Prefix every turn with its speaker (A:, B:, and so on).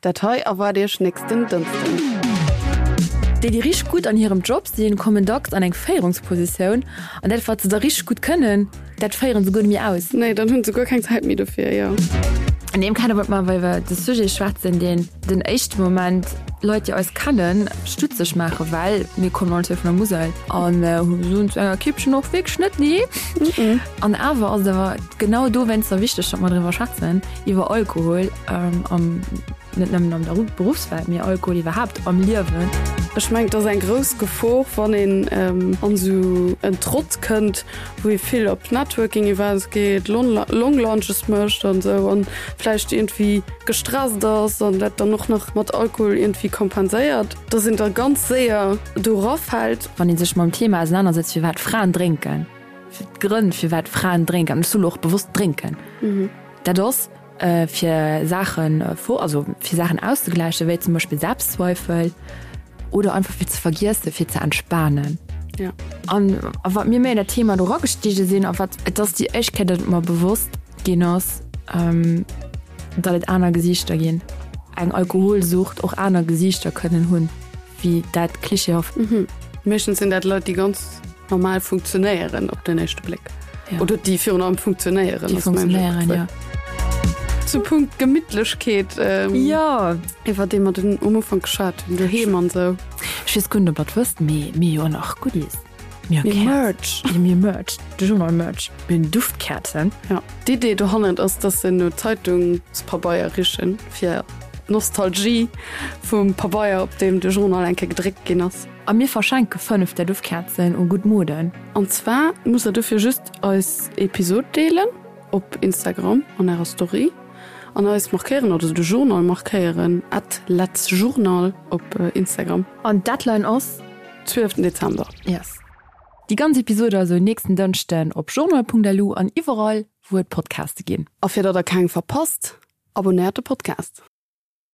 A: Datei awer Dich nächsten Dünsten.
B: die die rich gut an ihrem Jobs den kommen Docs an eng Féierungsposition an dat wat ze da rich gut können, dat feieren so gut mir aus.
A: Nee, dann hunn se go kein Zeit mir dofir ja.
B: An dem kann aber mal weil wir das Sujet schwatzen den den echt Moment Leute aus kannnnen stutzig mache weil mir kommen Leute von der Musel an äh, so ein, äh, Kippchen noch wegschnitt nie an aber also da war genau du wenn es da wichtig ist, dass man drüber schwatzen über Alkohol ähm, am nicht nur am Beru- Berufsfeld mir Alkohol überhaupt am Liwen
A: Beschmengt dats ein gros Gefo wann den ähm, an so en Trotz kënnt, wo e vill op Networking iwwers geht, Longlaunches mëcht an so an flecht irgendwie gestrast ass an dat dann noch noch mat Alkohol irgendwie kompenéiert. Da sind er ganz séier do raffhalt
B: wann den sich mal im Thema auseinandersetzt wie weit Frauen trinken Für die Gründe für weit Frauen trinken und du auch bewusst trinken dadurch äh, für Sachen äh, vor also für Sachen auszugleichen wie zum Beispiel Selbstzweifel oder einfach viel zu vergisst viel zu entspannen
A: Ja.
B: und aber mir mehr das Thema du rockgestiege sehen auf was dass die Echtkette immer bewusst genoss ähm, da einer Gesichter gehen ein Alkoholsucht auch einer Gesichter können hun wie dat Klischee auf
A: Mchen sind dat Leute die ganz normal funktionéieren op den nächste Blick.
B: Ja.
A: Ja. Oder die Fi am funktionéieren
B: die
A: aus meinem
B: funktionieren ja
A: Blick. Zu Punkt Gemidlechkeet ähm,
B: Ja
A: iwwer dem man den Umfang geschat du he man so
B: Schies Kunde bad wirst mé mé Jo nach gut is. Mir
A: Merch
B: mir Merch Du schon mal Merch bin Duftkerzen
A: ja. Die Idee du handelt ass dat se no Zeitungspabaierrichen fir Nostalgie vum Pabaier op dem de Journal enke gedréck ginnners.
B: a mir verschenke fünf der Duftkerzen und gut Moden
A: Anzwer muss er dufir just als Episode deelen op Instagram an eurer Story an als markieren oder de Journal markieren at Let's Journal op äh, Instagram
B: an Datline aus
A: 12. Dezember.
B: yes. Die ganze Episode also nächsten Dönstein op journal.lu an überall wo et Podcaste gehen
A: Afir dat er kein verpasst, abonnierte Podcast.